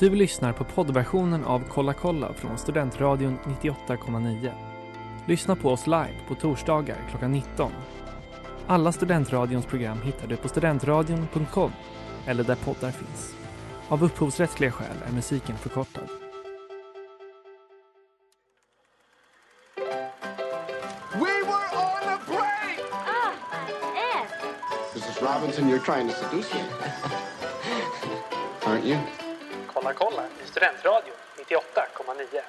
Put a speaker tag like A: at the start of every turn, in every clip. A: Du lyssnar på poddversionen av Kolla kolla från Studentradion 98,9. Lyssna på oss live på torsdagar klockan 19. Alla Studentradions program hittar du på studentradion.com eller där poddar finns. Av upphovsrättsliga skäl är musiken förkortad.
B: We were on a break!
C: Mrs. Robinson, you're trying to seduce me. Aren't you?
D: Kolla kolla i Studentradion 98,9.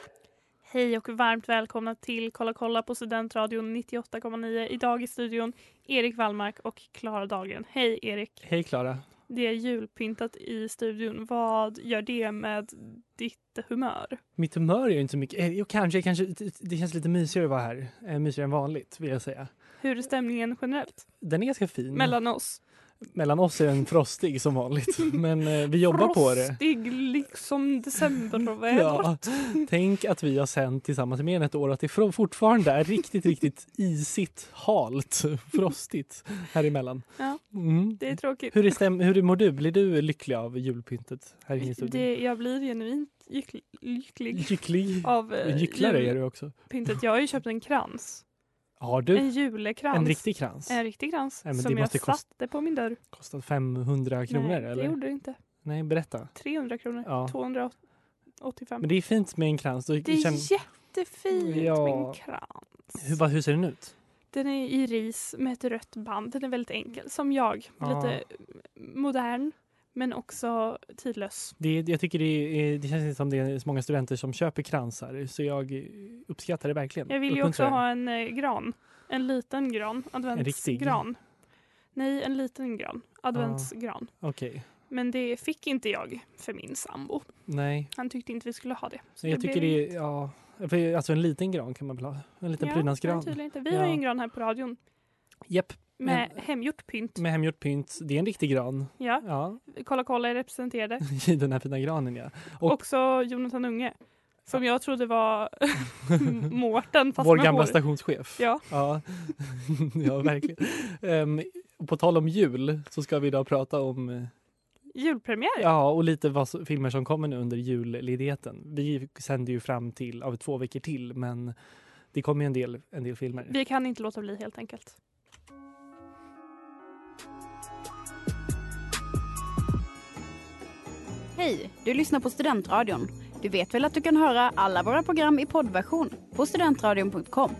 E: Hej och varmt välkomna till Kolla kolla på Studentradion 98,9. Idag i studion Erik Wallmark och Klara Dahlgren. Hej Erik!
A: Hej Klara.
E: Det är julpyntat i studion. Vad gör det med ditt humör?
A: Mitt humör gör inte så mycket. Eh, Jo, kanske, kanske. det- Det känns lite mysigare att vara här. Eh, Mysigare än vanligt vill jag säga.
E: Hur är stämningen generellt
A: Den är ganska fin.
E: mellan oss?
A: Mellan oss är den frostig som vanligt. Men eh, vi jobbar på det.
E: Frostig liksom decemberväder.
A: Ja, tänk att vi har sänt tillsammans i mer än ett år att det fro- fortfarande är riktigt, riktigt isigt, halt, frostigt här emellan.
E: Ja.
A: Mm.
E: Det är tråkigt.
A: Hur, är stäm- hur mår du? Blir du lycklig av julpyntet här inne i studion?
E: Det, jag blir genuint gyckl- lycklig
A: Lycklig?
E: av eh,
A: Gycklare är du också.
E: julpyntet. Jag har ju köpt en krans.
A: Har du
E: En julekrans.
A: en riktig krans?
E: En riktig krans
A: Nej, men
E: som
A: det
E: jag
A: måste kosta-
E: satte på min dörr.
A: Kostat 500 kronor
E: Nej, det
A: eller?
E: gjorde det inte.
A: Nej, berätta.
E: 300 kronor.
A: Ja.
E: 285.
A: Men det är fint med en krans. Då
E: det är
A: känn-
E: jättefint med
A: Ja.
E: en krans.
A: hur, vad- hur ser den ut?
E: Den är i ris med ett rött band. Den är väldigt enkel, som jag.
A: Ja.
E: Lite modern, men också tidlös.
A: Det, jag tycker det, är, det känns inte som det är så många studenter som köper kransar så jag uppskattar det verkligen.
E: Jag vill ju också
A: Uppmuntrar det.
E: ha en eh, gran. En liten gran. Adventsgran. Nej, en liten gran. Adventsgran.
A: Okej.
E: Men det fick inte jag för min sambo.
A: Nej,
E: Han tyckte inte vi skulle ha det. Så
A: Nej, jag
E: det
A: tycker
E: blev
A: det är... Ja, för, alltså en liten gran kan man väl ha? En liten
E: Ja,
A: prydnadsgran?
E: nej, tydligen inte. Vi har ju
A: Ja.
E: en gran här på radion
A: Japp,
E: med
A: Men-
E: hemgjort pynt.
A: med hemgjort pynt. Det är en riktig gran.
E: ja,
A: Ja,
E: Kolla kolla är representerade.
A: i den här fina granen ja. Och-
E: Också Jonathan Unge. Som jag trodde var Mårten fast
A: Vår
E: med
A: gamla
E: hår.
A: stationschef.
E: Ja.
A: Ja, ja verkligen. Ehm, och på tal om jul så ska vi idag prata om eh,
E: Julpremiär.
A: ja, och lite vad, som- filmer som kommer nu under julledigheten. Vi sänder ju fram till av två veckor till men det kommer ju en del, en del filmer.
E: Vi kan inte låta bli helt enkelt.
F: Hej! Du lyssnar på Studentradion. Du vet väl att du kan höra alla våra program i poddversion på studentradion.com?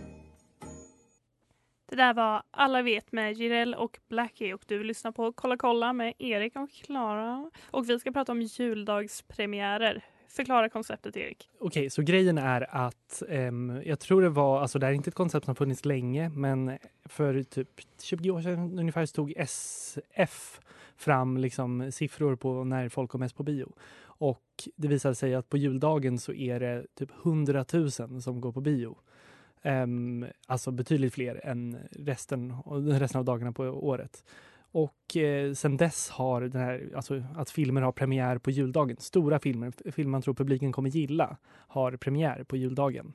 E: Det där var Alla vet med Jireel och Blackie och du lyssnar på Kolla kolla med Erik och Klara. Och vi ska prata om juldagspremiärer. Förklara konceptet Erik.
A: Okej, så grejen är att ehm, jag tror det var, alltså det här är inte ett koncept som har funnits länge, men för typ 20 år sedan ungefär så tog SF fram liksom siffror på när folk går mest på bio. Och det visade sig att på juldagen så är det typ 100 000 som går på bio. Ehm, alltså betydligt fler än resten, resten av dagarna på året. Och eh, sen dess har den här, alltså att filmer har premiär på juldagen, stora filmer, f- filmer man tror publiken kommer gilla, har premiär på juldagen.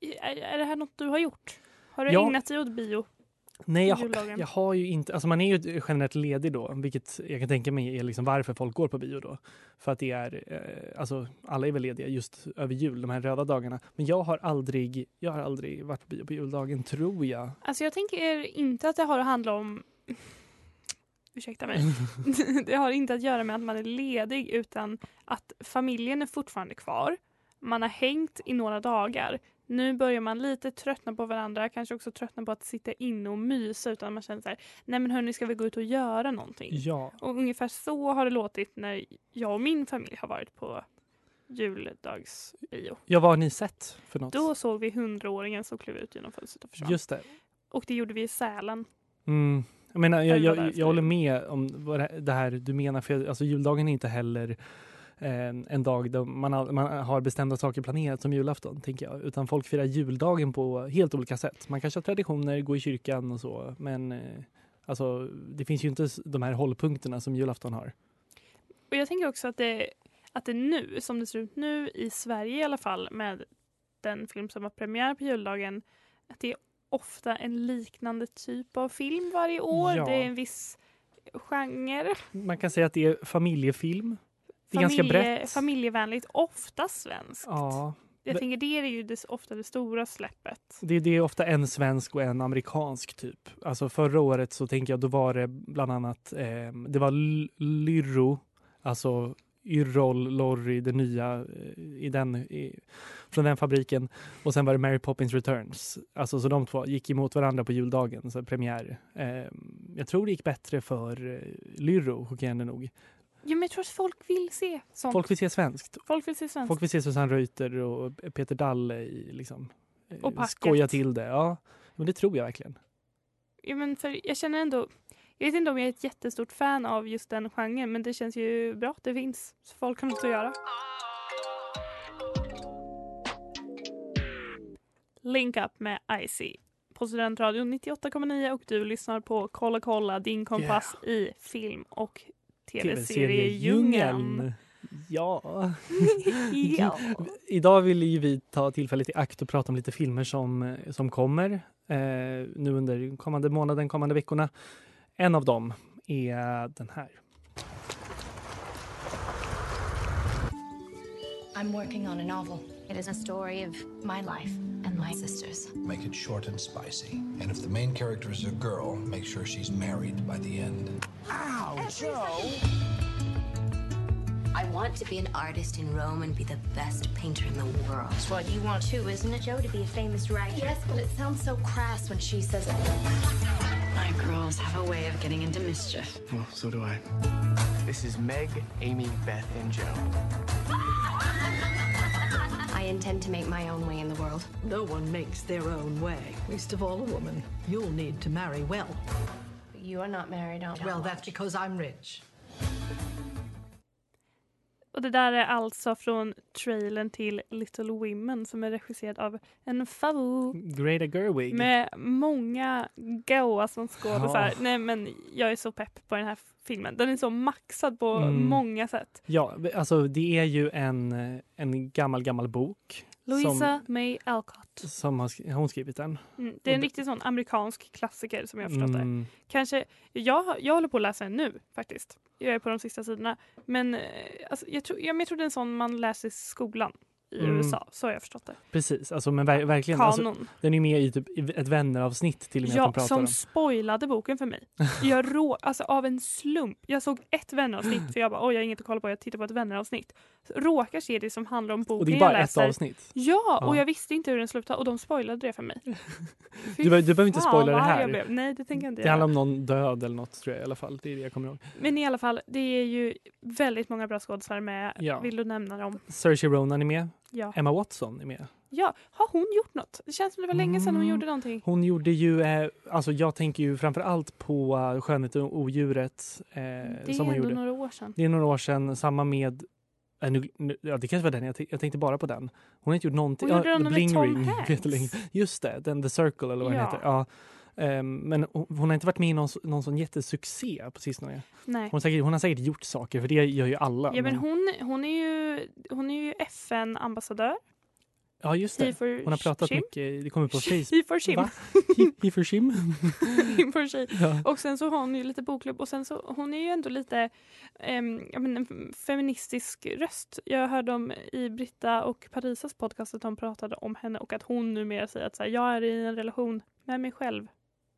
E: Är, är det här något du har gjort? Har du
A: Ja.
E: ägnat dig åt bio?
A: Nej,
E: På
A: jag,
E: juldagen.
A: jag har ju inte, alltså man är ju generellt ledig då, vilket jag kan tänka mig är liksom varför folk går på bio då. För att det är, eh, alltså alla är väl lediga just över jul, de här röda dagarna. Men jag har aldrig, jag har aldrig varit på bio på juldagen, tror jag.
E: Alltså jag tänker inte att det har att handla om... Ursäkta mig. det har inte att göra med att man är ledig utan att familjen är fortfarande kvar. Man har hängt i några dagar. Nu börjar man lite tröttna på varandra, kanske också tröttna på att sitta inne och mysa utan man känner så här, nej men hörni ska vi gå ut och göra någonting?
A: Ja.
E: Och ungefär så har det låtit när jag och min familj har varit på juldagsbio.
A: ja, vad har ni sett för något?
E: Då såg vi hundraåringen som klev ut genom fönstret och försvann.
A: just det.
E: Och det gjorde vi i Sälen.
A: Mm. Jag, menar, jag,
E: Eller vad
A: jag,
E: det är för-
A: jag håller med om vad det- det här du menar, för jag- alltså, juldagen är inte heller eh, en dag då man, har- man har bestämda saker planerat som julafton, tänker jag. Utan folk firar juldagen på helt olika sätt. Man kanske har traditioner, går i kyrkan och så, men eh, alltså, det finns ju inte s- de här hållpunkterna som julafton har.
E: Och jag tänker också att det, att det nu, som det ser ut nu i Sverige i alla fall med den film som har premiär på juldagen, att det är ofta en liknande typ av film varje år.
A: Ja.
E: Det är en viss genre.
A: Man kan säga att det är familjefilm. Det är ganska brett.
E: Familjevänligt, ofta svenskt.
A: Ja,
E: Jag
A: det-
E: tänker det är ju det, ofta det stora släppet.
A: det, det är ofta en svensk och en amerikansk typ. Alltså förra året så tänker jag, då var det bland annat, eh, det var L- Lyrro, alltså Yrrol, Lorry, det nya eh, i den, i, från den fabriken. Och sen var det Mary Poppins Returns. Alltså så de två gick emot varandra på juldagen, så premiär. Eh, jag tror det gick bättre för eh, Lyrro, chockerande nog.
E: Ja, men jag tror att folk vill se sånt. Folk,
A: Folk vill se svenskt.
E: vill se svenskt.
A: Folk vill se Susanne Reuter och Peter Dalle i liksom, eh,
E: Och packet.
A: skoja till det. Ja, men det tror jag verkligen.
E: Ja, men för jag känner ändå... Jag vet inte om jag är ett jättestort fan av just den genren men det känns ju bra att det finns. Så folk har något att göra. Link up med Icy på Studentradion 98,9 och du lyssnar på Kolla kolla din kompass i film och tv-seriedjungeln.
A: Djungeln. Ja.
E: Ja.
A: Idag vill ju vi ta tillfället i akt och prata om lite filmer som, som kommer eh, nu under kommande månaden, kommande veckorna. En av dem är den här.
G: I'm working on a novel. It is a story of my life and my sister's.
H: Make it short and spicy. And if the main character is a girl, make sure she's married by the end.
G: I want to be an artist in Rome and be the best painter in the world. That's what you want too, isn't it, Joe, to be a famous writer? Yes, but it sounds so crass when she says My girls have a way of getting into mischief.
I: Well, Oh, so do I. This is Meg, Amy, Beth, and Joe.
G: I intend to make my own way in the world.
J: No one makes their own way, least of all a woman. You'll need to marry well.
G: But you are not married, are
J: Well, that's because I'm rich.
E: Och det där är alltså från trailern till Little Women som är regisserad av en favorit.
A: Greta Gerwig.
E: Med många goa som skådisar.
A: Ja.
E: Nej men jag är så pepp på den här filmen. Den är så maxad på
A: Mm.
E: många sätt.
A: Ja, alltså det är ju en, eh, en gammal, gammal bok.
E: Louisa May Alcott.
A: Som, som har, sk- har hon skrivit den?
E: Mm, det är en
A: och det-
E: riktig sån amerikansk klassiker som jag förstått det.
A: Mm.
E: Kanske, jag, jag håller på att läsa den nu faktiskt. Jag är på de sista sidorna. Men eh, alltså, jag, tror, ja, men jag tror det är en sån man läser i skolan i
A: Mm.
E: USA. Så har jag förstått det.
A: Precis, alltså, men ver- verkligen. Alltså,
E: Kanon.
A: Den är med i typ i ett vänneravsnitt till och med. att
E: Ja,
A: de pratar
E: som
A: om.
E: spoilade boken för mig. Jag rå, alltså av en slump. Jag såg ett vänneravsnitt för jag bara, oj jag har inget att kolla på, jag tittar på ett vänneravsnitt. Så Råkar se det som handlar om boken
A: Och det är
E: jag
A: bara ett
E: läser.
A: avsnitt.
E: Ja, och
A: Ja.
E: jag visste inte hur den slutade och de spoilade det för mig. Fy
A: Du, be- du behöver inte
E: fan,
A: spoila det
E: vad arg jag
A: här.
E: blev. Nej, det tänker jag inte
A: Det
E: göra.
A: handlar om någon död eller något tror jag i alla fall. Det är det jag kommer ihåg.
E: Men i alla fall, det är ju väldigt många bra skådespelare med.
A: Ja.
E: Vill du nämna dem?
A: Saoirse Ronan är med.
E: Ja.
A: Emma Watson är med.
E: ja. Har hon gjort något? Det känns som det var länge sedan hon
A: Mm.
E: gjorde någonting.
A: Hon gjorde ju, eh, alltså jag tänker ju framför allt på uh, Skönheten och odjuret eh,
E: det är
A: som hon
E: ändå
A: gjorde.
E: några år sedan.
A: Det är några år sedan, samma med eh, nu, nu, ja, det kanske var den, jag, t- jag tänkte bara på den. Hon har inte gjort någonting.
E: Hon gjorde
A: ja,
E: den
A: The
E: med
A: Bling
E: Tom
A: Ring,
E: Hanks.
A: jättelänge. Just det, den The Circle eller vad den
E: Ja.
A: heter. Ja. Ehm, men hon, hon har inte varit med i någon, s- någon sån jättesuccé på sistone.
E: Nej.
A: Hon har, säkert, hon har säkert gjort saker, för det gör ju alla.
E: Ja, men
A: men-
E: hon, hon är ju, hon är ju FN-ambassadör.
A: ja just
E: He
A: det.
E: for
A: Hon har pratat
E: shim.
A: mycket, det kommer på Facebook.
E: He for shim.
A: Va? He for shim.
E: He for shim.
A: Ja.
E: Och sen så har hon ju lite bokklubb och sen så hon är ju ändå lite ehm, ja, men en feministisk röst. Jag hörde om i Britta och Parisas podcast att de pratade om henne och att hon numera säger att så här, jag är i en relation med mig själv.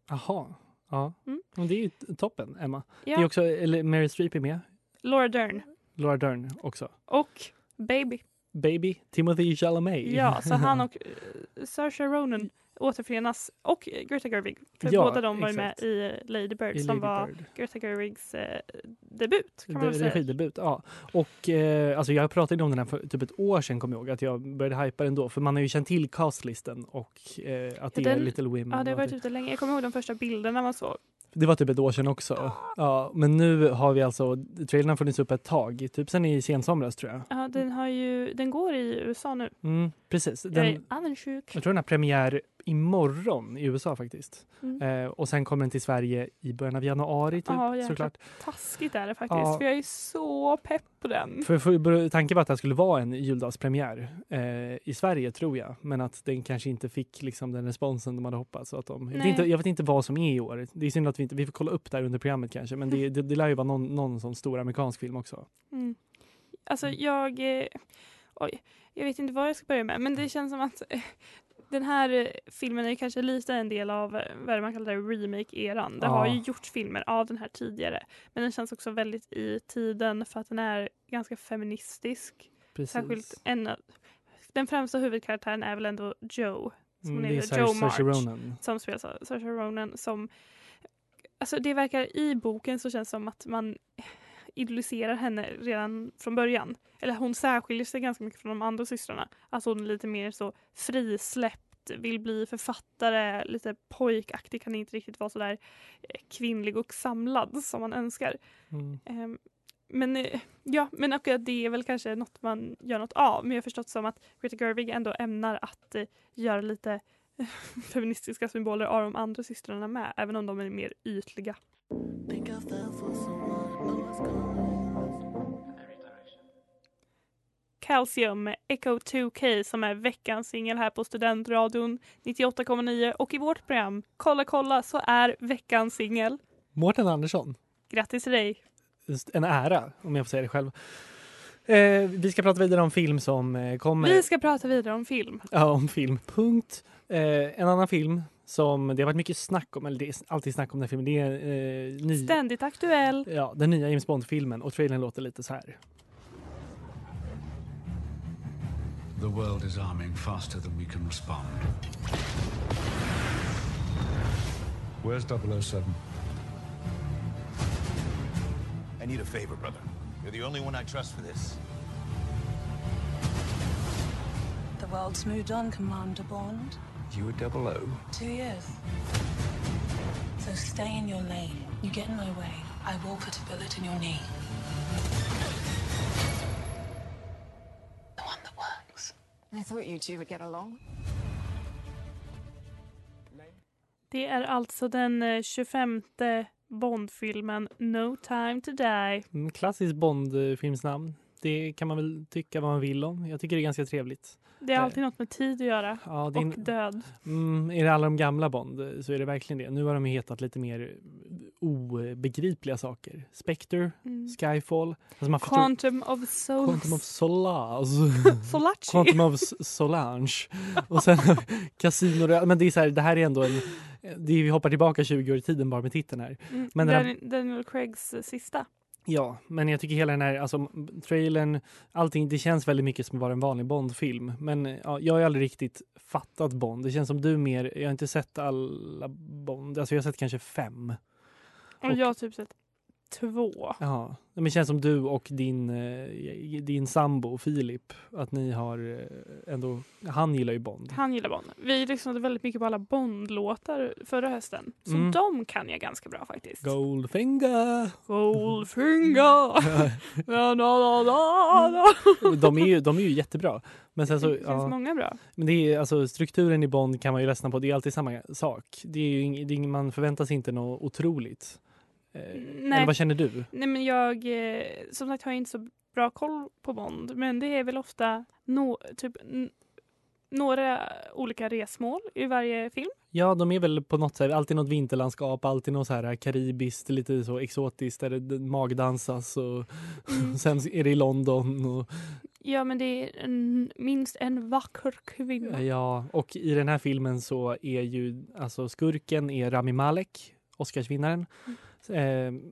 A: Jaha. Ja.
E: Mm.
A: Men det är ju t- toppen, Emma.
E: Ja.
A: Det är också, eller Mary Streep är med,
E: Laura Dern
A: Laura Dern också.
E: och Baby.
A: Baby, Timothy Chalamet.
E: Ja, så han och eh, Saoirse Ronan återförenas och eh, Greta Gerwig. För
A: Ja,
E: båda de var ju med
A: exakt.
E: i eh, Lady Bird
A: I
E: som
A: Lady
E: var
A: Bird.
E: Greta Gerwigs eh, debut. Kan man väl
A: Det-
E: säga.
A: Regidebut, ja. Och eh, alltså jag pratade om den här för typ ett år sedan kommer jag ihåg att jag började hypa den då för man har ju känt till castlisten och eh, att
E: Ja,
A: det är
E: den-
A: Little Women.
E: Ja, det har
A: och
E: varit
A: typ-
E: ute länge. Jag kommer ihåg de första bilderna man såg.
A: det var typ ett år sedan också. Ja, men nu har vi alltså, trailern har funnits upp ett tag, typ sen i sensomras tror jag.
E: Ja, den, har ju, den går i USA nu.
A: Mm, precis.
E: Den, jag är
A: Den,
E: avundsjuk.
A: jag tror den har premiär imorgon i USA faktiskt.
E: Mm.
A: Eh, och sen kommer den till Sverige i början av januari typ,
E: Ja, jäklar.
A: såklart.
E: Taskigt är det faktiskt,
A: Ja.
E: för jag är så pepp på den.
A: För, för tanken var att det här skulle vara en juldagspremiär eh, i Sverige tror jag, men att den kanske inte fick liksom, den responsen de hade hoppats. och Att de, jag, vet
E: Nej.
A: inte, jag vet inte vad som är i år. Det är synd att vi inte, vi får
E: Mm.
A: kolla upp det här under programmet kanske, men det, det, det lär ju vara någon, någon sån stor amerikansk film också.
E: Mm. alltså jag, eh, oj, jag vet inte vad jag ska börja med, men
A: Mm.
E: det känns som att eh, den här eh, filmen är kanske lite en del av eh, vad är det man kallar det, remake-eran. Det har
A: Ja.
E: ju gjorts filmer av den här tidigare, men den känns också väldigt i tiden för att den är ganska feministisk.
A: Precis.
E: Särskilt en, av- den främsta huvudkaraktären är väl ändå Joe, som hon
A: Mm, det är
E: heter,
A: Sar-
E: Joe
A: Saoirse
E: March.
A: Ronan.
E: som spelas av Saoirse Ronan som alltså det verkar i boken så känns det som att man idoliserar henne redan från början. Eller hon särskiljer sig ganska mycket från de andra systrarna. Alltså hon är lite mer så frisläppt, vill bli författare, lite pojkaktig, kan inte riktigt vara så där eh, kvinnlig och samlad som man önskar.
A: Mm.
E: Ehm, men eh, ja, men och att det är väl kanske något man gör något av. Men jag har förstått som att Greta Gerwig ändå ämnar att eh, göra lite eh, feministiska symboler av de andra systrarna med, även om de är mer ytliga. Calcium med Echo 2K som är veckans singel här på Studentradion 98,9 och i vårt program Kolla kolla så är veckans singel.
A: Mårten Andersson.
E: Grattis till dig!
A: Just En ära, om jag får säga det själv. Eh, vi ska prata vidare om film som eh, kommer.
E: Vi ska prata vidare om film.
A: Ja, om film. Punkt. Eh, en annan film som det har varit mycket snack om, eller det är alltid snack om den här filmen, det är eh, ny,
E: Ständigt aktuell.
A: ja, den nya James Bond-filmen och trailern låter lite så här.
H: The world is arming faster than we can respond. Where's 007?
K: I need a favor, brother. You're the only one I trust for this.
L: The world's moved on, Commander Bond.
K: You were double O.
L: Two years. So stay in your lane. You get in my way, I will put a bullet in your knee. The one that works.
M: I thought you two would get along.
E: Det är alltså den eh, 25 Bondfilmen No time to die.
A: Mm, klassiskt Bond-filmsnamn. Det kan man väl tycka vad man vill om. Jag tycker det är ganska trevligt.
E: Det är alltid något med tid att göra.
A: Ja, det är en-
E: Och död.
A: Mm, är det alla de gamla Bond eh, så är det verkligen det. Nu har de ju hetat lite mer eh, obegripliga saker. Spectre,
E: Mm.
A: Skyfall. Alltså man förstår-
E: Quantum of Souls.
A: Quantum of Solace.
E: Solace.
A: Quantum of S- Solange. Och sen Casino Royale. Men det är så här, det här är ändå en... Det är, vi hoppar tillbaka 20 år i tiden bara med titeln här.
E: Mm,
A: Men den här-
E: Dan- Daniel Craigs eh, sista.
A: Ja, men jag tycker hela den här alltså, m- trailern, allting, det känns väldigt mycket som bara en vanlig Bond-film. Men eh, ja, jag har ju aldrig riktigt fattat Bond. Det känns som du mer, jag har inte sett alla Bond, alltså jag har sett kanske fem.
E: Och,
A: Och-
E: jag har typ sett två.
A: Ja, men det känns som du och din, eh, din sambo Filip, att ni har eh, ändå, han gillar ju Bond.
E: Han gillar Bond. Vi lyssnade väldigt mycket på alla Bond-låtar förra hösten. Så
A: Mm.
E: de kan jag ganska bra faktiskt.
A: Goldfinger!
E: Goldfinger! La, la, la, la, la.
A: De är ju, de är ju jättebra. Men sen så,
E: Det finns
A: Mm. Alltså, ja.
E: många bra.
A: Men det är, alltså, strukturen i Bond kan man ju ledsna på. Det är alltid samma sak. Det är ju, ing- det är, ing- man förväntar sig inte något otroligt. Eh, eller vad känner du?
E: Nej, men jag eh, som sagt har jag inte så bra koll på Bond men det är väl ofta no, typ, n- några olika resmål i varje film.
A: Ja, de är väl på något sätt alltid något vinterlandskap, alltid något så här karibiskt, lite så exotiskt där det d- magdansas och
E: Mm.
A: sen är det i London. Och,
E: Ja men det är en, minst en vacker kvinna.
A: ja, och i den här filmen så är ju alltså skurken är Rami Malek, Oscarsvinnaren. Eh,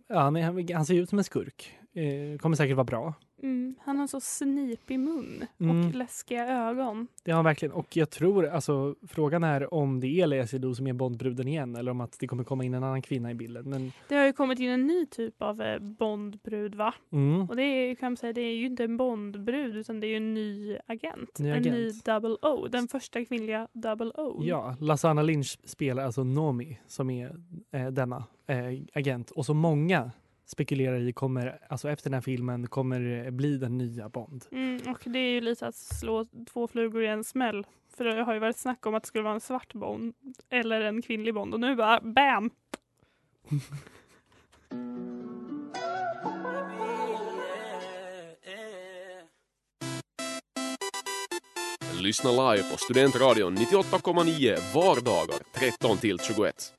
A: ja, men han, han ser ju ut som en skurk. Eh, kommer säkert vara bra.
E: Mm, han har så snipig mun
A: Mm.
E: och läskiga ögon.
A: Det har han verkligen. Och jag tror, alltså frågan är om det är Lea Seydoux som är Bondbruden igen eller om att det kommer komma in en annan kvinna i bilden. Men
E: Det har ju kommit in en ny typ av eh, Bondbrud va?
A: Mm.
E: Och det är, ju- kan man säga, det är ju inte en Bondbrud utan det är ju en ny agent.
A: Ny
E: en
A: agent.
E: ny Double O. Den första kvinnliga Double O.
A: ja, Lassana Lynch spelar alltså Nomi som är eh, denna eh, agent. Och så många spekulerar i kommer, alltså efter den här filmen kommer eh, bli den nya Bond.
E: Mm, och det är ju lite att slå två flugor i en smäll. För det har ju varit snack om att det skulle vara en svart Bond eller en kvinnlig Bond och nu bara BAM!
N: Lyssna live på Studentradion 98,9 vardagar 13 till 21.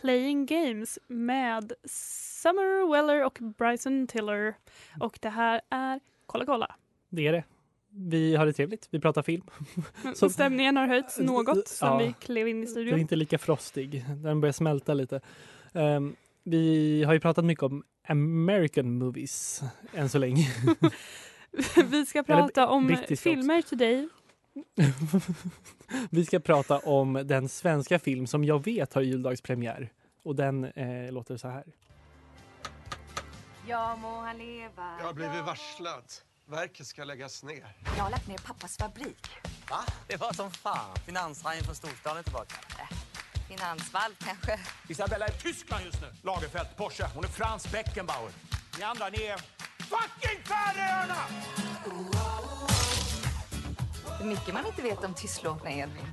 E: Playing Games med Summer Weller och Bryson Tiller. Och det här är Kolla kolla.
A: Det är det. Vi har det trevligt. Vi pratar film.
E: Så, Stämningen har höjts något sen
A: Ja.
E: vi klev in i
A: Den är
E: studion.
A: inte lika frostig. Den börjar smälta lite. Ehm, vi har ju pratat mycket om American movies än så länge.
E: Vi ska prata om
A: brittiska också.
E: filmer till dig.
A: vi ska prata om den svenska film som jag vet har juldagspremiär. Och den eh, låter så här.
O: Ja må han leva.
P: Jag har blivit varslad. Verket ska läggas ner.
O: Jag har lagt ner pappas fabrik.
Q: Va? Det var som fan. Finanshajen från storstan är tillbaka.
O: Finansvalv kanske.
Q: Isabella är i Tyskland just nu. Lagerfeld, Porsche. Hon är Franz Beckenbauer. Ni andra, ni är fucking Färöarna!
O: Hur mycket man inte vet om tystlåtna Edvin.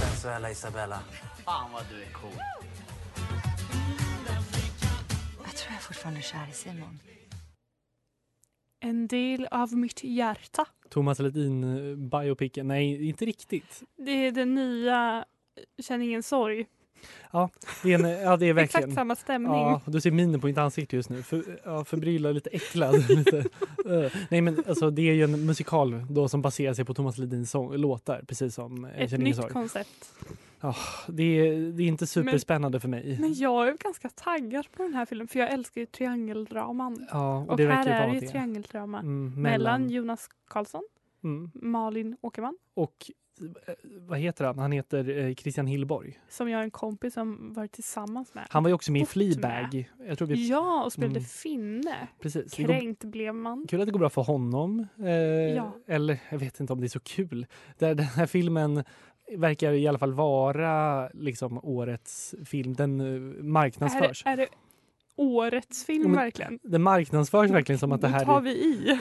Q: Sensuella Isabella. Fan vad du är cool.
O: Jag tror jag är fortfarande kär i Simon.
E: En del av mitt hjärta.
A: Thomas Ledin-biopicen. Nej, inte riktigt.
E: Det är den nya Känn ingen sorg.
A: Ja, det är, en, ja, det är verkligen...
E: Exakt samma stämning.
A: Ja, du ser minen på mitt ansikte just nu. För, ja, förbryllad, lite äcklad. lite, eh. Nej, men alltså, det är ju en musikal då som baserar sig på Thomas Ledins sång, låtar, precis som eh,
E: Ett
A: Känn ingen
E: nytt
A: sorg.
E: koncept.
A: Ja, det, är, det är inte superspännande för mig.
E: Men jag är ganska taggad på den här filmen för jag älskar ju triangeldraman.
A: Ja, och
E: och
A: det
E: här
A: verkar ju vara
E: är ju
A: det.
E: triangeldrama
A: Mm,
E: mellan...
A: mellan
E: Jonas Karlsson,
A: Mm.
E: Malin Åkerman,
A: Och eh, vad heter han? Han heter eh, Christian Hillborg.
E: som jag har en kompis som varit tillsammans med.
A: Han var ju också med i
E: Bott
A: Fleabag. Jag tror vi...
E: Ja, och spelade
A: Mm.
E: finne.
A: Precis. Det går-
E: Kränkt blev man.
A: Kul att det går bra för honom. Eh,
E: Ja.
A: Eller jag vet inte om det är så kul. Där, den här filmen verkar i alla fall vara liksom årets film. Den eh,
E: Är,
A: marknadsförs.
E: det- är det årets film
A: Ja, men
E: verkligen?
A: Den marknadsförs verkligen som att det
E: Nu
A: här...
E: tar
A: är-
E: vi i.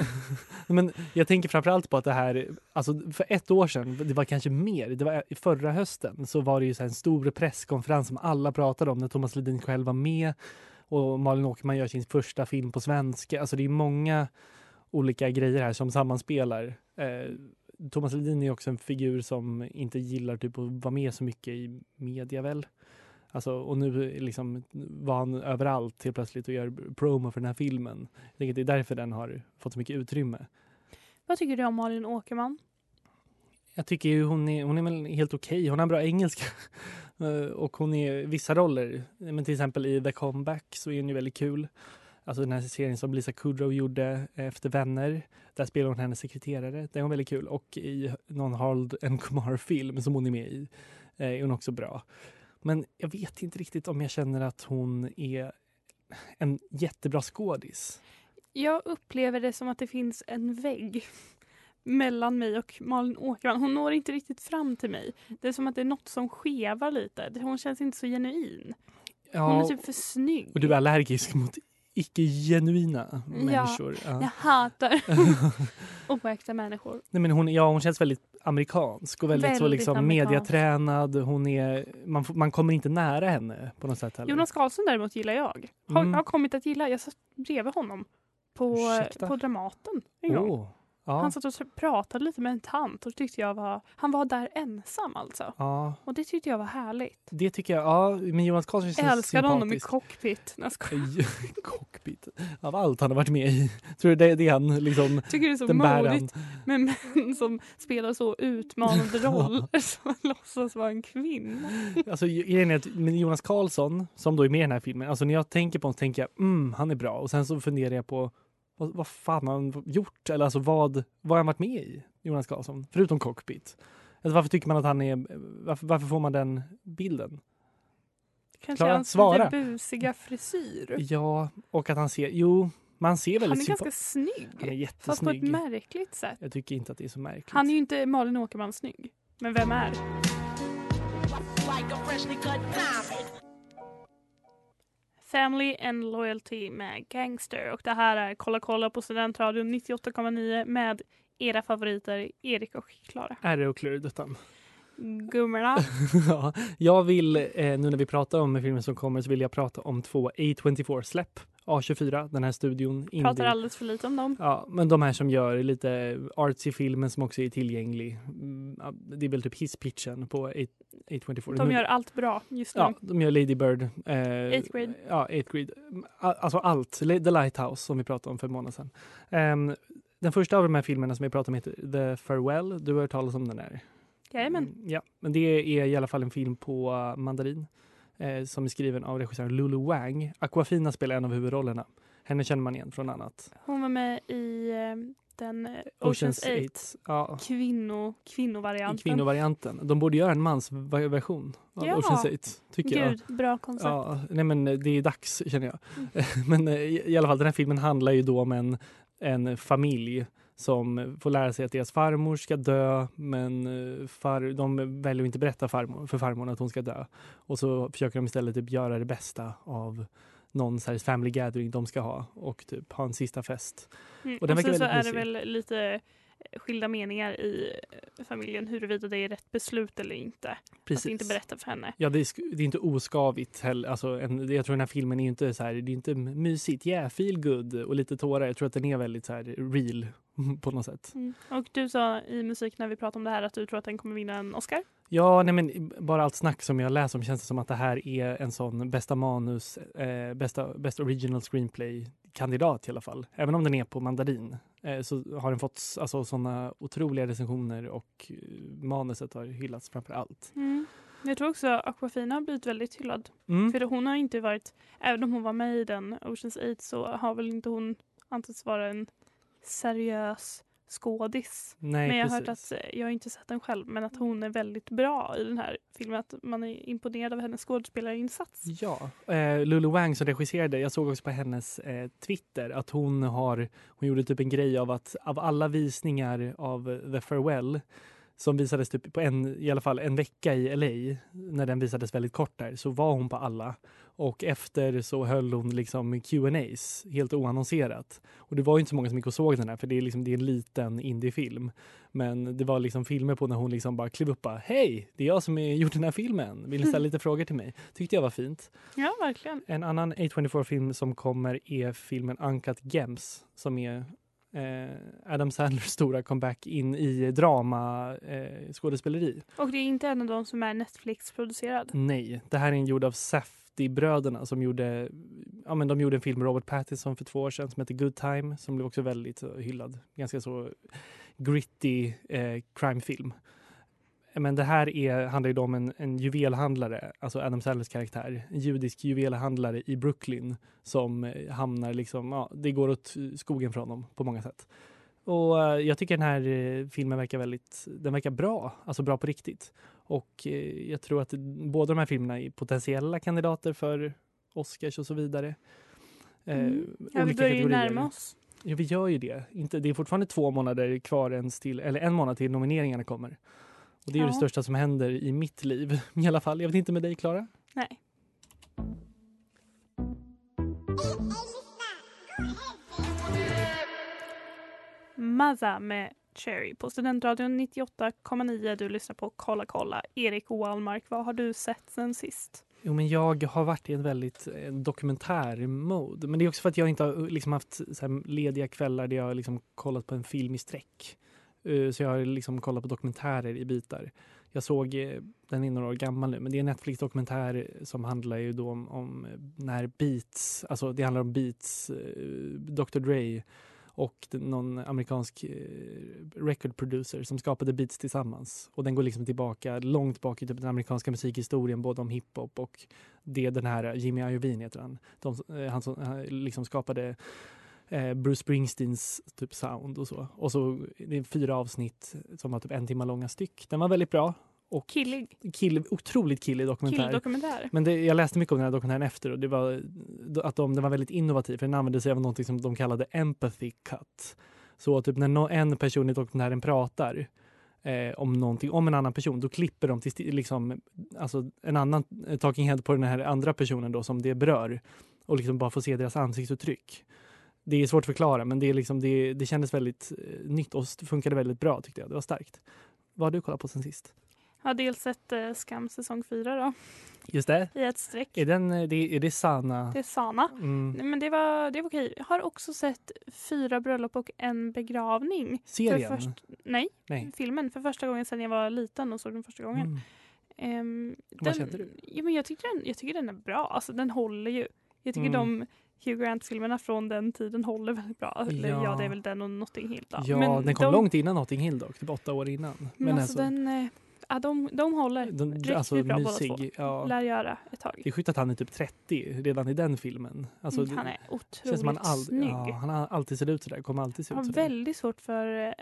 A: Men jag tänker framförallt på att det här, alltså för ett år sedan, det var kanske mer, det var förra hösten, så var det ju så här en stor presskonferens som alla pratade om när Thomas Ledin själv var med och Malin Åkerman gör sin första film på svenska. Alltså det är många olika grejer här som sammanspelar. Eh, Thomas Ledin är också en figur som inte gillar typ att vara med så mycket i media väl. Alltså, och nu liksom var han överallt helt plötsligt och gör promo för den här filmen. Jag tänker att det är därför den har fått så mycket utrymme.
E: Vad tycker du om Malin Åkerman?
A: Jag tycker ju hon är, hon är väl helt okej. Hon har bra engelska. Eh, Och hon är vissa roller, men till exempel i The Comeback så är hon ju väldigt kul. Alltså den här serien som Lisa Kudrow gjorde eh, efter Vänner. Där spelar hon hennes sekreterare. Den var väldigt kul. Och i någon Harold and Kumar-film som hon är med i eh, är hon också bra. Men jag vet inte riktigt om jag känner att hon är en jättebra skådis.
E: Jag upplever det som att det finns en vägg mellan mig och Malin Åkerman. Hon når inte riktigt fram till mig. Det är som att det är något som skevar lite. Det- Hon känns inte så genuin. Hon är typ för snygg.
A: Och du är allergisk mot icke-genuina människor.
E: Ja,
A: Ja.
E: jag hatar oäkta människor.
A: Nej, men hon, ja, hon känns väldigt amerikansk och väldigt, så
E: Väldigt
A: liksom
E: amerikansk.
A: mediatränad. Hon är, man, får- man kommer inte nära henne på något sätt heller.
E: Jonas Karlsson däremot gillar jag. Har,
A: Mm.
E: har kommit att gilla. Jag satt bredvid honom på,
A: Ursäkta?
E: på Dramaten en gång.
A: Åh, ja.
E: Han satt och pratade lite med en tant och tyckte jag var... Han var där ensam alltså.
A: ja,
E: Och det tyckte jag var härligt.
A: det tycker jag. Ja, men Jonas Karlsson
E: Jag
A: känns
E: älskade honom i
A: sympatisk.
E: cockpit. Nej, jag skojar.
A: Cockpit. Av allt han har varit med i. Tror du det, det är han liksom?
E: Tycker det är så
A: den bär han.
E: modigt med män som spelar så utmanande roller som låtsas vara en kvinna.
A: Alltså, grejen är att men Jonas Karlsson, som då är med i den här filmen, alltså när jag tänker på honom så tänker jag mm, han är bra. Och sen så funderar jag på vad, vad fan har han gjort? Eller alltså vad, vad har han varit med i, Jonas Karlsson? Förutom cockpit. Alltså, varför tycker man att han är, varför, varför får man den bilden?
E: Kanske
A: Klara,
E: hans
A: svara.
E: lite busiga frisyr.
A: Ja, och att han ser, jo, man ser
E: Han
A: väldigt
E: är ganska
A: sympa-
E: snygg.
A: Han är
E: Fast på ett
A: jättesnygg.
E: märkligt sätt.
A: Jag tycker inte att det är så märkligt.
E: Han är ju inte Malin Åkerman snygg. Men vem är? Family and Loyalty med Gangster. Och det här är Kolla kolla på Studentradion 98,9 med era favoriter Erik och Klara.
A: Är det och kluruduttan?
E: Gummorna.
A: ja, jag vill, eh, nu när vi pratar om filmer som kommer, så vill jag prata om två A24-släpp. A24, den här studion.
E: Pratar
A: indie-
E: alldeles för lite om dem.
A: Ja, men de här som gör lite artsy filmen som också är tillgänglig. Mm, ja, Det är väl typ hisspitchen på A- A24.
E: De gör allt bra just nu.
A: Ja, de gör Lady Bird. eh,
E: Eighth Grade.
A: Ja, Eighth Grade. A- Alltså allt. Le- The Lighthouse som vi pratade om för en månad sedan. Ehm, den första av de här filmerna som vi pratade om heter The Farewell. Du har hört talas om den här?
E: Jajamän.
A: Mm, Ja, men det är i alla fall en film på eh, mandarin eh, som är skriven av regissören Lulu Wang. Aquafina spelar en av huvudrollerna. Henne känner man igen från annat.
E: Hon var med i eh, den eh, Oceans 8.
A: Ja,
E: Kvinno,
A: i
E: kvinnovarianten.
A: kvinnovarianten. De borde göra en mansversion av
E: Ja.
A: Ocean's 8, tycker jag.
E: Gud, bra koncept.
A: Ja, nej men det är dags känner jag.
E: Mm.
A: Men eh, i i alla fall den här filmen handlar ju då om en, en familj som får lära sig att deras farmor ska dö men eh, far, de väljer att inte berätta farmor, för farmor att hon ska dö. Och så försöker de istället typ göra det bästa av någon så här family gathering de ska ha och typ ha en sista fest.
E: Mm.
A: Och
E: Och
A: den verkar
E: sen så
A: väldigt
E: är det
A: mysig.
E: väl lite eh, skilda meningar i eh, familjen huruvida det är rätt beslut eller inte.
A: Precis.
E: Att inte berätta för henne.
A: Ja, det är, sk- det är inte oskavigt heller. Alltså, en, det- jag tror den här filmen är ju inte så här, det är inte mysigt, yeah, feel good och lite tårar. Jag tror att den är väldigt så här real på något sätt.
E: Mm. Och du sa i musik när vi pratade om det här att du tror att den kommer vinna en Oscar.
A: Ja, nej men bara allt snack som jag läser om känns det som att det här är en sån bästa manus, eh, bästa, bästa original screenplay-kandidat i alla fall. Även om den är på mandarin eh, så har den fått s- alltså, såna otroliga recensioner och eh, manuset har hyllats framför allt.
E: Mm. Jag tror också Aquafina har blivit väldigt hyllad.
A: Mm.
E: För hon har inte varit, även om hon var med i den Oceans 8 så har väl inte hon ansetts vara en seriös skådis.
A: Nej,
E: men jag har hört
A: precis.
E: att, eh, jag har inte sett den själv, men att hon är väldigt bra i den här filmen. Att man är imponerad av hennes skådespelarinsats.
A: Ja, eh, Lulu Wang som regisserade, jag såg också på hennes eh, Twitter att hon har, hon gjorde typ en grej av att av alla visningar av eh, The Farewell som visades typ på en, i alla fall en vecka i LA, när den visades väldigt kort där, så var hon på alla. Och efter så höll hon liksom Q&As helt oannonserat. Och det var ju inte så många som gick och såg den här för det är liksom, det är en liten indiefilm. Men det var liksom filmer på när hon liksom bara klev upp och bara Hej, det är jag som har gjort den här filmen. Vill ni ställa lite frågor till mig? Tyckte jag var fint.
E: Ja, verkligen.
A: En annan A24-film som kommer är filmen Uncut Gems som är eh, Adam Sandlers stora comeback in i drama eh, skådespeleri.
E: Och det är inte en av de som är Netflix-producerad.
A: Nej, det här är en gjord av Safdie-bröderna som gjorde, ja, men de gjorde en film med Robert Pattinson för två år sedan som heter Good Time som blev också väldigt eh, hyllad. Ganska så gritty eh, crime-film. Men det här är, handlar ju då om en, en juvelhandlare, alltså Adam Sandlers karaktär, en judisk juvelhandlare i Brooklyn som eh, hamnar liksom, ja, det går åt eh, skogen från dem på många sätt. Och eh, jag tycker den här eh, filmen verkar väldigt, den verkar bra, alltså bra på riktigt. Och eh, jag tror att båda de här filmerna är potentiella kandidater för Oscars och så vidare. Eh,
E: Mm. Ja, vi
A: olika
E: börjar ju
A: kategorier.
E: närma oss.
A: Ja, vi gör ju det. Inte, det är fortfarande två månader kvar ens till, eller en månad till nomineringarna kommer. Och det är ju
E: Ja.
A: det största som händer i mitt liv i alla fall. Jag vet inte med dig Klara?
E: Nej. Mazza med Cherry på Studentradion 98,9. Du lyssnar på Kolla kolla. Erik Wallmark, vad har du sett sen sist?
A: Jo, men jag har varit i en väldigt eh, dokumentär-mode. Men det är också för att jag inte har eh, liksom, haft så här, lediga kvällar där jag har liksom, kollat på en film i sträck. Eh, så jag har liksom, kollat på dokumentärer i bitar. Jag såg, eh, den är några år gammal nu, men det är en Netflix-dokumentär eh, som handlar ju då om, om eh, när Beats, alltså det handlar om Beats, eh, Dr Dre och den- någon amerikansk eh, record producer som skapade Beats tillsammans. Och den går liksom tillbaka långt bak i typ den amerikanska musikhistorien, både om hiphop och det den här Jimmy Iovine heter han. De, eh, han som han liksom skapade eh, Bruce Springsteens typ sound och så. Och så det är fyra avsnitt som var typ en timme långa styck. Den var väldigt bra. Och
E: killig.
A: Kill, otroligt killig dokumentär.
E: Killdokumentär.
A: Men det, jag läste mycket om den här dokumentären efter och det var att de, den var väldigt innovativ för den använde sig av något som de kallade empathy cut. Så typ när nå- en person i dokumentären pratar eh, om någonting, om en annan person, då klipper de till sti- liksom, alltså en annan eh, talking head på den här andra personen då som det berör och liksom bara få se deras ansiktsuttryck. Det är svårt att förklara men det, är liksom, det, det kändes väldigt eh, nytt och st- funkade väldigt bra tyckte jag. Det var starkt. Vad har du kollat på sen sist?
E: Jag har dels sett eh, Skam säsong 4 då,
A: Just det.
E: i ett streck.
A: Är, den, eh, det, är det Sana?
E: Det är Sana.
A: Mm.
E: Nej, men det var, det var okej. Jag har också sett fyra bröllop och en begravning. För
A: Serien?
E: först, nej,
A: Nej.
E: filmen. För första gången sedan jag var liten och såg den första gången. Ehm,
A: Mm. Vad kände du?
E: Ja, men jag, tycker den, jag tycker den är bra. Alltså, den håller ju. Jag tycker
A: Mm.
E: de Hugh Grant-filmerna från den tiden håller väldigt bra. Eller ja,
A: Ja.
E: det är väl den och Notting Hill. Då.
A: Ja,
E: Men
A: den kom
E: de-
A: långt innan Notting Hill dock, typ åtta år innan.
E: Men, alltså, den, eh, ja, de, de håller
A: den- alltså,
E: riktigt bra båda två.
A: ja.
E: Lär göra ett tag.
A: Det är sjukt att han är typ 30 redan i den filmen. Alltså,
E: Mm, han
A: det-
E: är otroligt
A: känns som han all-
E: snygg.
A: Ja, han har alltid sett ut sådär, kommer alltid se
E: Jag
A: ut
E: har
A: sådär.
E: väldigt svårt för eh,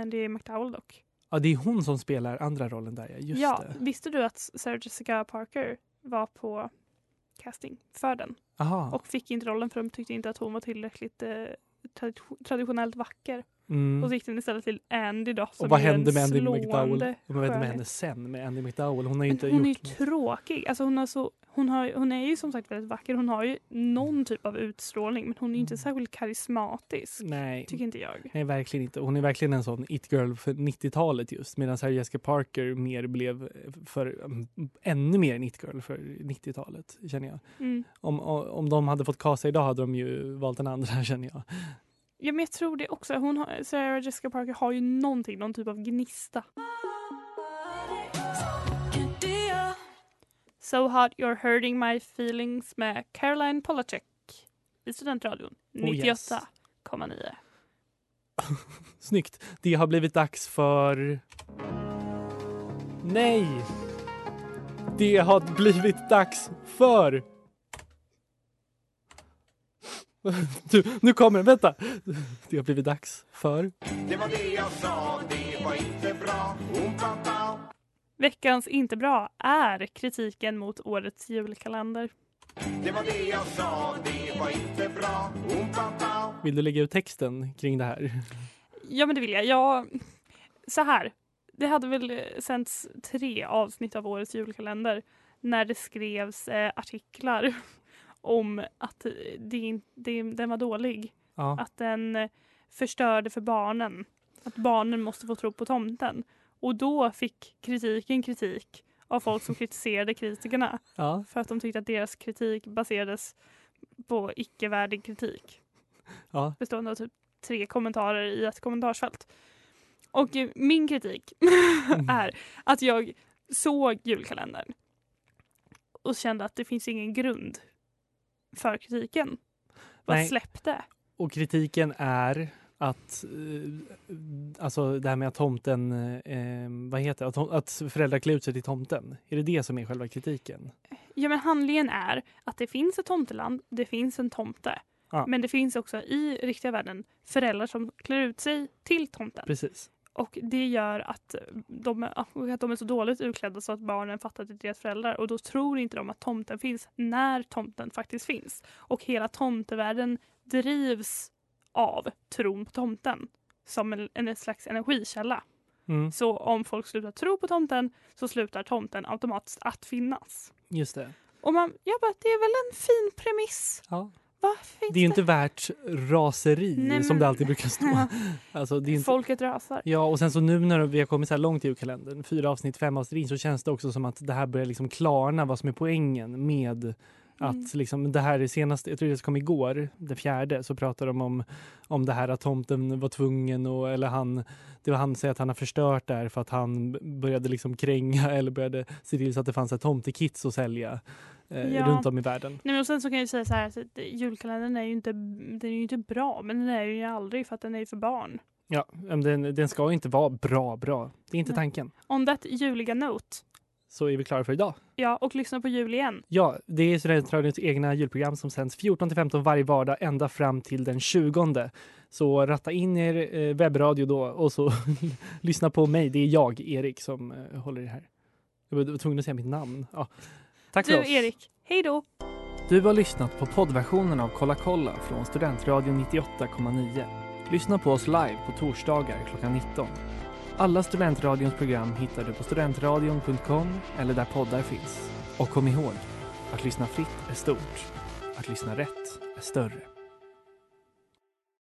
E: Andy McDowell dock.
A: Ja, det är hon som spelar andra rollen där, ja. Just
E: ja,
A: det.
E: Visste du att Sarah Jessica Parker var på casting för den?
A: Aha.
E: Och fick inte rollen för de tyckte inte att hon var tillräckligt eh, tradition- traditionellt vacker.
A: Mm.
E: Och så gick den istället till Andy då. som
A: Och vad
E: är en
A: hände med Andy McDowell?
E: slående
A: Ja, men Vad hände med
E: skönhet.
A: henne sen med Andy McDowell? Hon har ju
E: Men
A: inte
E: hon är ju
A: gjort...
E: tråkig. Alltså hon, har så, hon, har, hon är ju som sagt väldigt vacker. Hon har ju någon typ av utstrålning men hon är ju inte särskilt karismatisk.
A: Mm. Nej.
E: Tycker inte jag.
A: Nej, verkligen inte. Hon är verkligen en sån it-girl för 90-talet just. Medan Sarah Jessica Parker mer blev eh, för, mm, ännu mer en it-girl för 90-talet, känner jag.
E: Mm.
A: Om, o- om de hade fått kasa idag hade de ju valt den andra, känner jag.
E: Ja, men jag tror det också. Hon har, Sarah Jessica Parker har ju någonting, någon typ av gnista. So hot you're hurting my feelings med Caroline Polachek i Studentradion
A: Oh, yes.
E: 98,9.
A: Snyggt. Det har blivit dags för... Nej! Det har blivit dags för... Du, nu kommer den. Vänta! Det har blivit dags för...
B: Det var det jag sa, det var inte bra. Um, pa, pa.
E: Veckans inte bra är kritiken mot årets julkalender.
B: Det var det jag sa, det var inte bra. Um, pa, pa.
A: Vill du lägga ut texten kring det här?
E: Ja, men det vill jag. jag så här. Det hade väl eh, sänts tre avsnitt av årets julkalender när det skrevs eh, artiklar om att eh, det, in- det, den var dålig.
A: Ja.
E: Att den eh, förstörde för barnen. Att barnen måste få tro på tomten. Och då fick kritiken kritik av folk som kritiserade kritikerna
A: Ja.
E: för att de tyckte att deras kritik baserades på icke-värdig kritik
A: Ja.
E: bestående av typ tre kommentarer i ett kommentarsfält. Och eh, min kritik
A: Mm.
E: är att jag såg julkalendern och kände att det finns ingen grund för kritiken. Vad
A: Nej.
E: släppte?
A: Och kritiken är att eh, alltså det här med att tomten, eh, vad heter det? att, tom- att föräldrar klär ut sig till tomten. Är det det som är själva kritiken?
E: Ja, men handlingen är att det finns ett tomteland, det finns en tomte.
A: Ja.
E: Men det finns också i riktiga världen föräldrar som klär ut sig till tomten.
A: Precis.
E: Och det gör att de, att de är så dåligt utklädda så att barnen fattar att det är deras föräldrar och då tror inte de att tomten finns när tomten faktiskt finns. Och hela tomtevärlden drivs av tron på tomten som en, en slags energikälla.
A: Mm.
E: Så om folk slutar tro på tomten så slutar tomten automatiskt att finnas.
A: Just det.
E: Och man, jag bara, det är väl en fin premiss?
A: Ja.
E: Vad finns
A: Det är ju inte värt raseri
E: Nej,
A: som det
E: men-
A: alltid brukar stå.
E: Ja.
A: Alltså, det är inte...
E: Folket rasar.
A: Ja, och sen så nu när vi har kommit så här långt i julkalendern, fyra avsnitt, fem avsnitt in, så känns det också som att det här börjar liksom klarna vad som är poängen med att
E: Mm.
A: liksom det här är senast, jag tror det kom igår, den fjärde, så pratade de om, om det här att tomten var tvungen och eller han, det var han som säger att han har förstört det här för att han b- började liksom kränga eller började se till så att det fanns så här tomtekits att sälja eh,
E: Ja.
A: runt om i världen.
E: Nej, men och sen så kan jag ju säga så här att eh, julkalendern är ju inte, den är ju inte bra, men den är ju aldrig för att den är ju för barn.
A: Ja, men den, den ska ju inte vara bra, bra. Det är inte
E: Nej.
A: tanken.
E: On that juliga note.
A: Så är vi klara för idag.
E: Ja, och lyssna på jul igen.
A: Ja, det är Studentradions egna julprogram som sänds 14 till 15 varje vardag ända fram till den 20. Så ratta in er eh, webbradio då och så lyssna på mig. Det är jag, Erik, som eh, håller i det här. Jag var tvungen att säga mitt namn. Ja. Tack
E: du
A: för oss.
E: Erik, hej då!
A: Du har lyssnat på poddversionen av Kolla kolla från Studentradion 98,9. Lyssna på oss live på torsdagar klockan 19. Alla Studentradions program hittar du på studentradion.com eller där poddar finns. Och kom ihåg, att lyssna fritt är stort. Att lyssna rätt är större.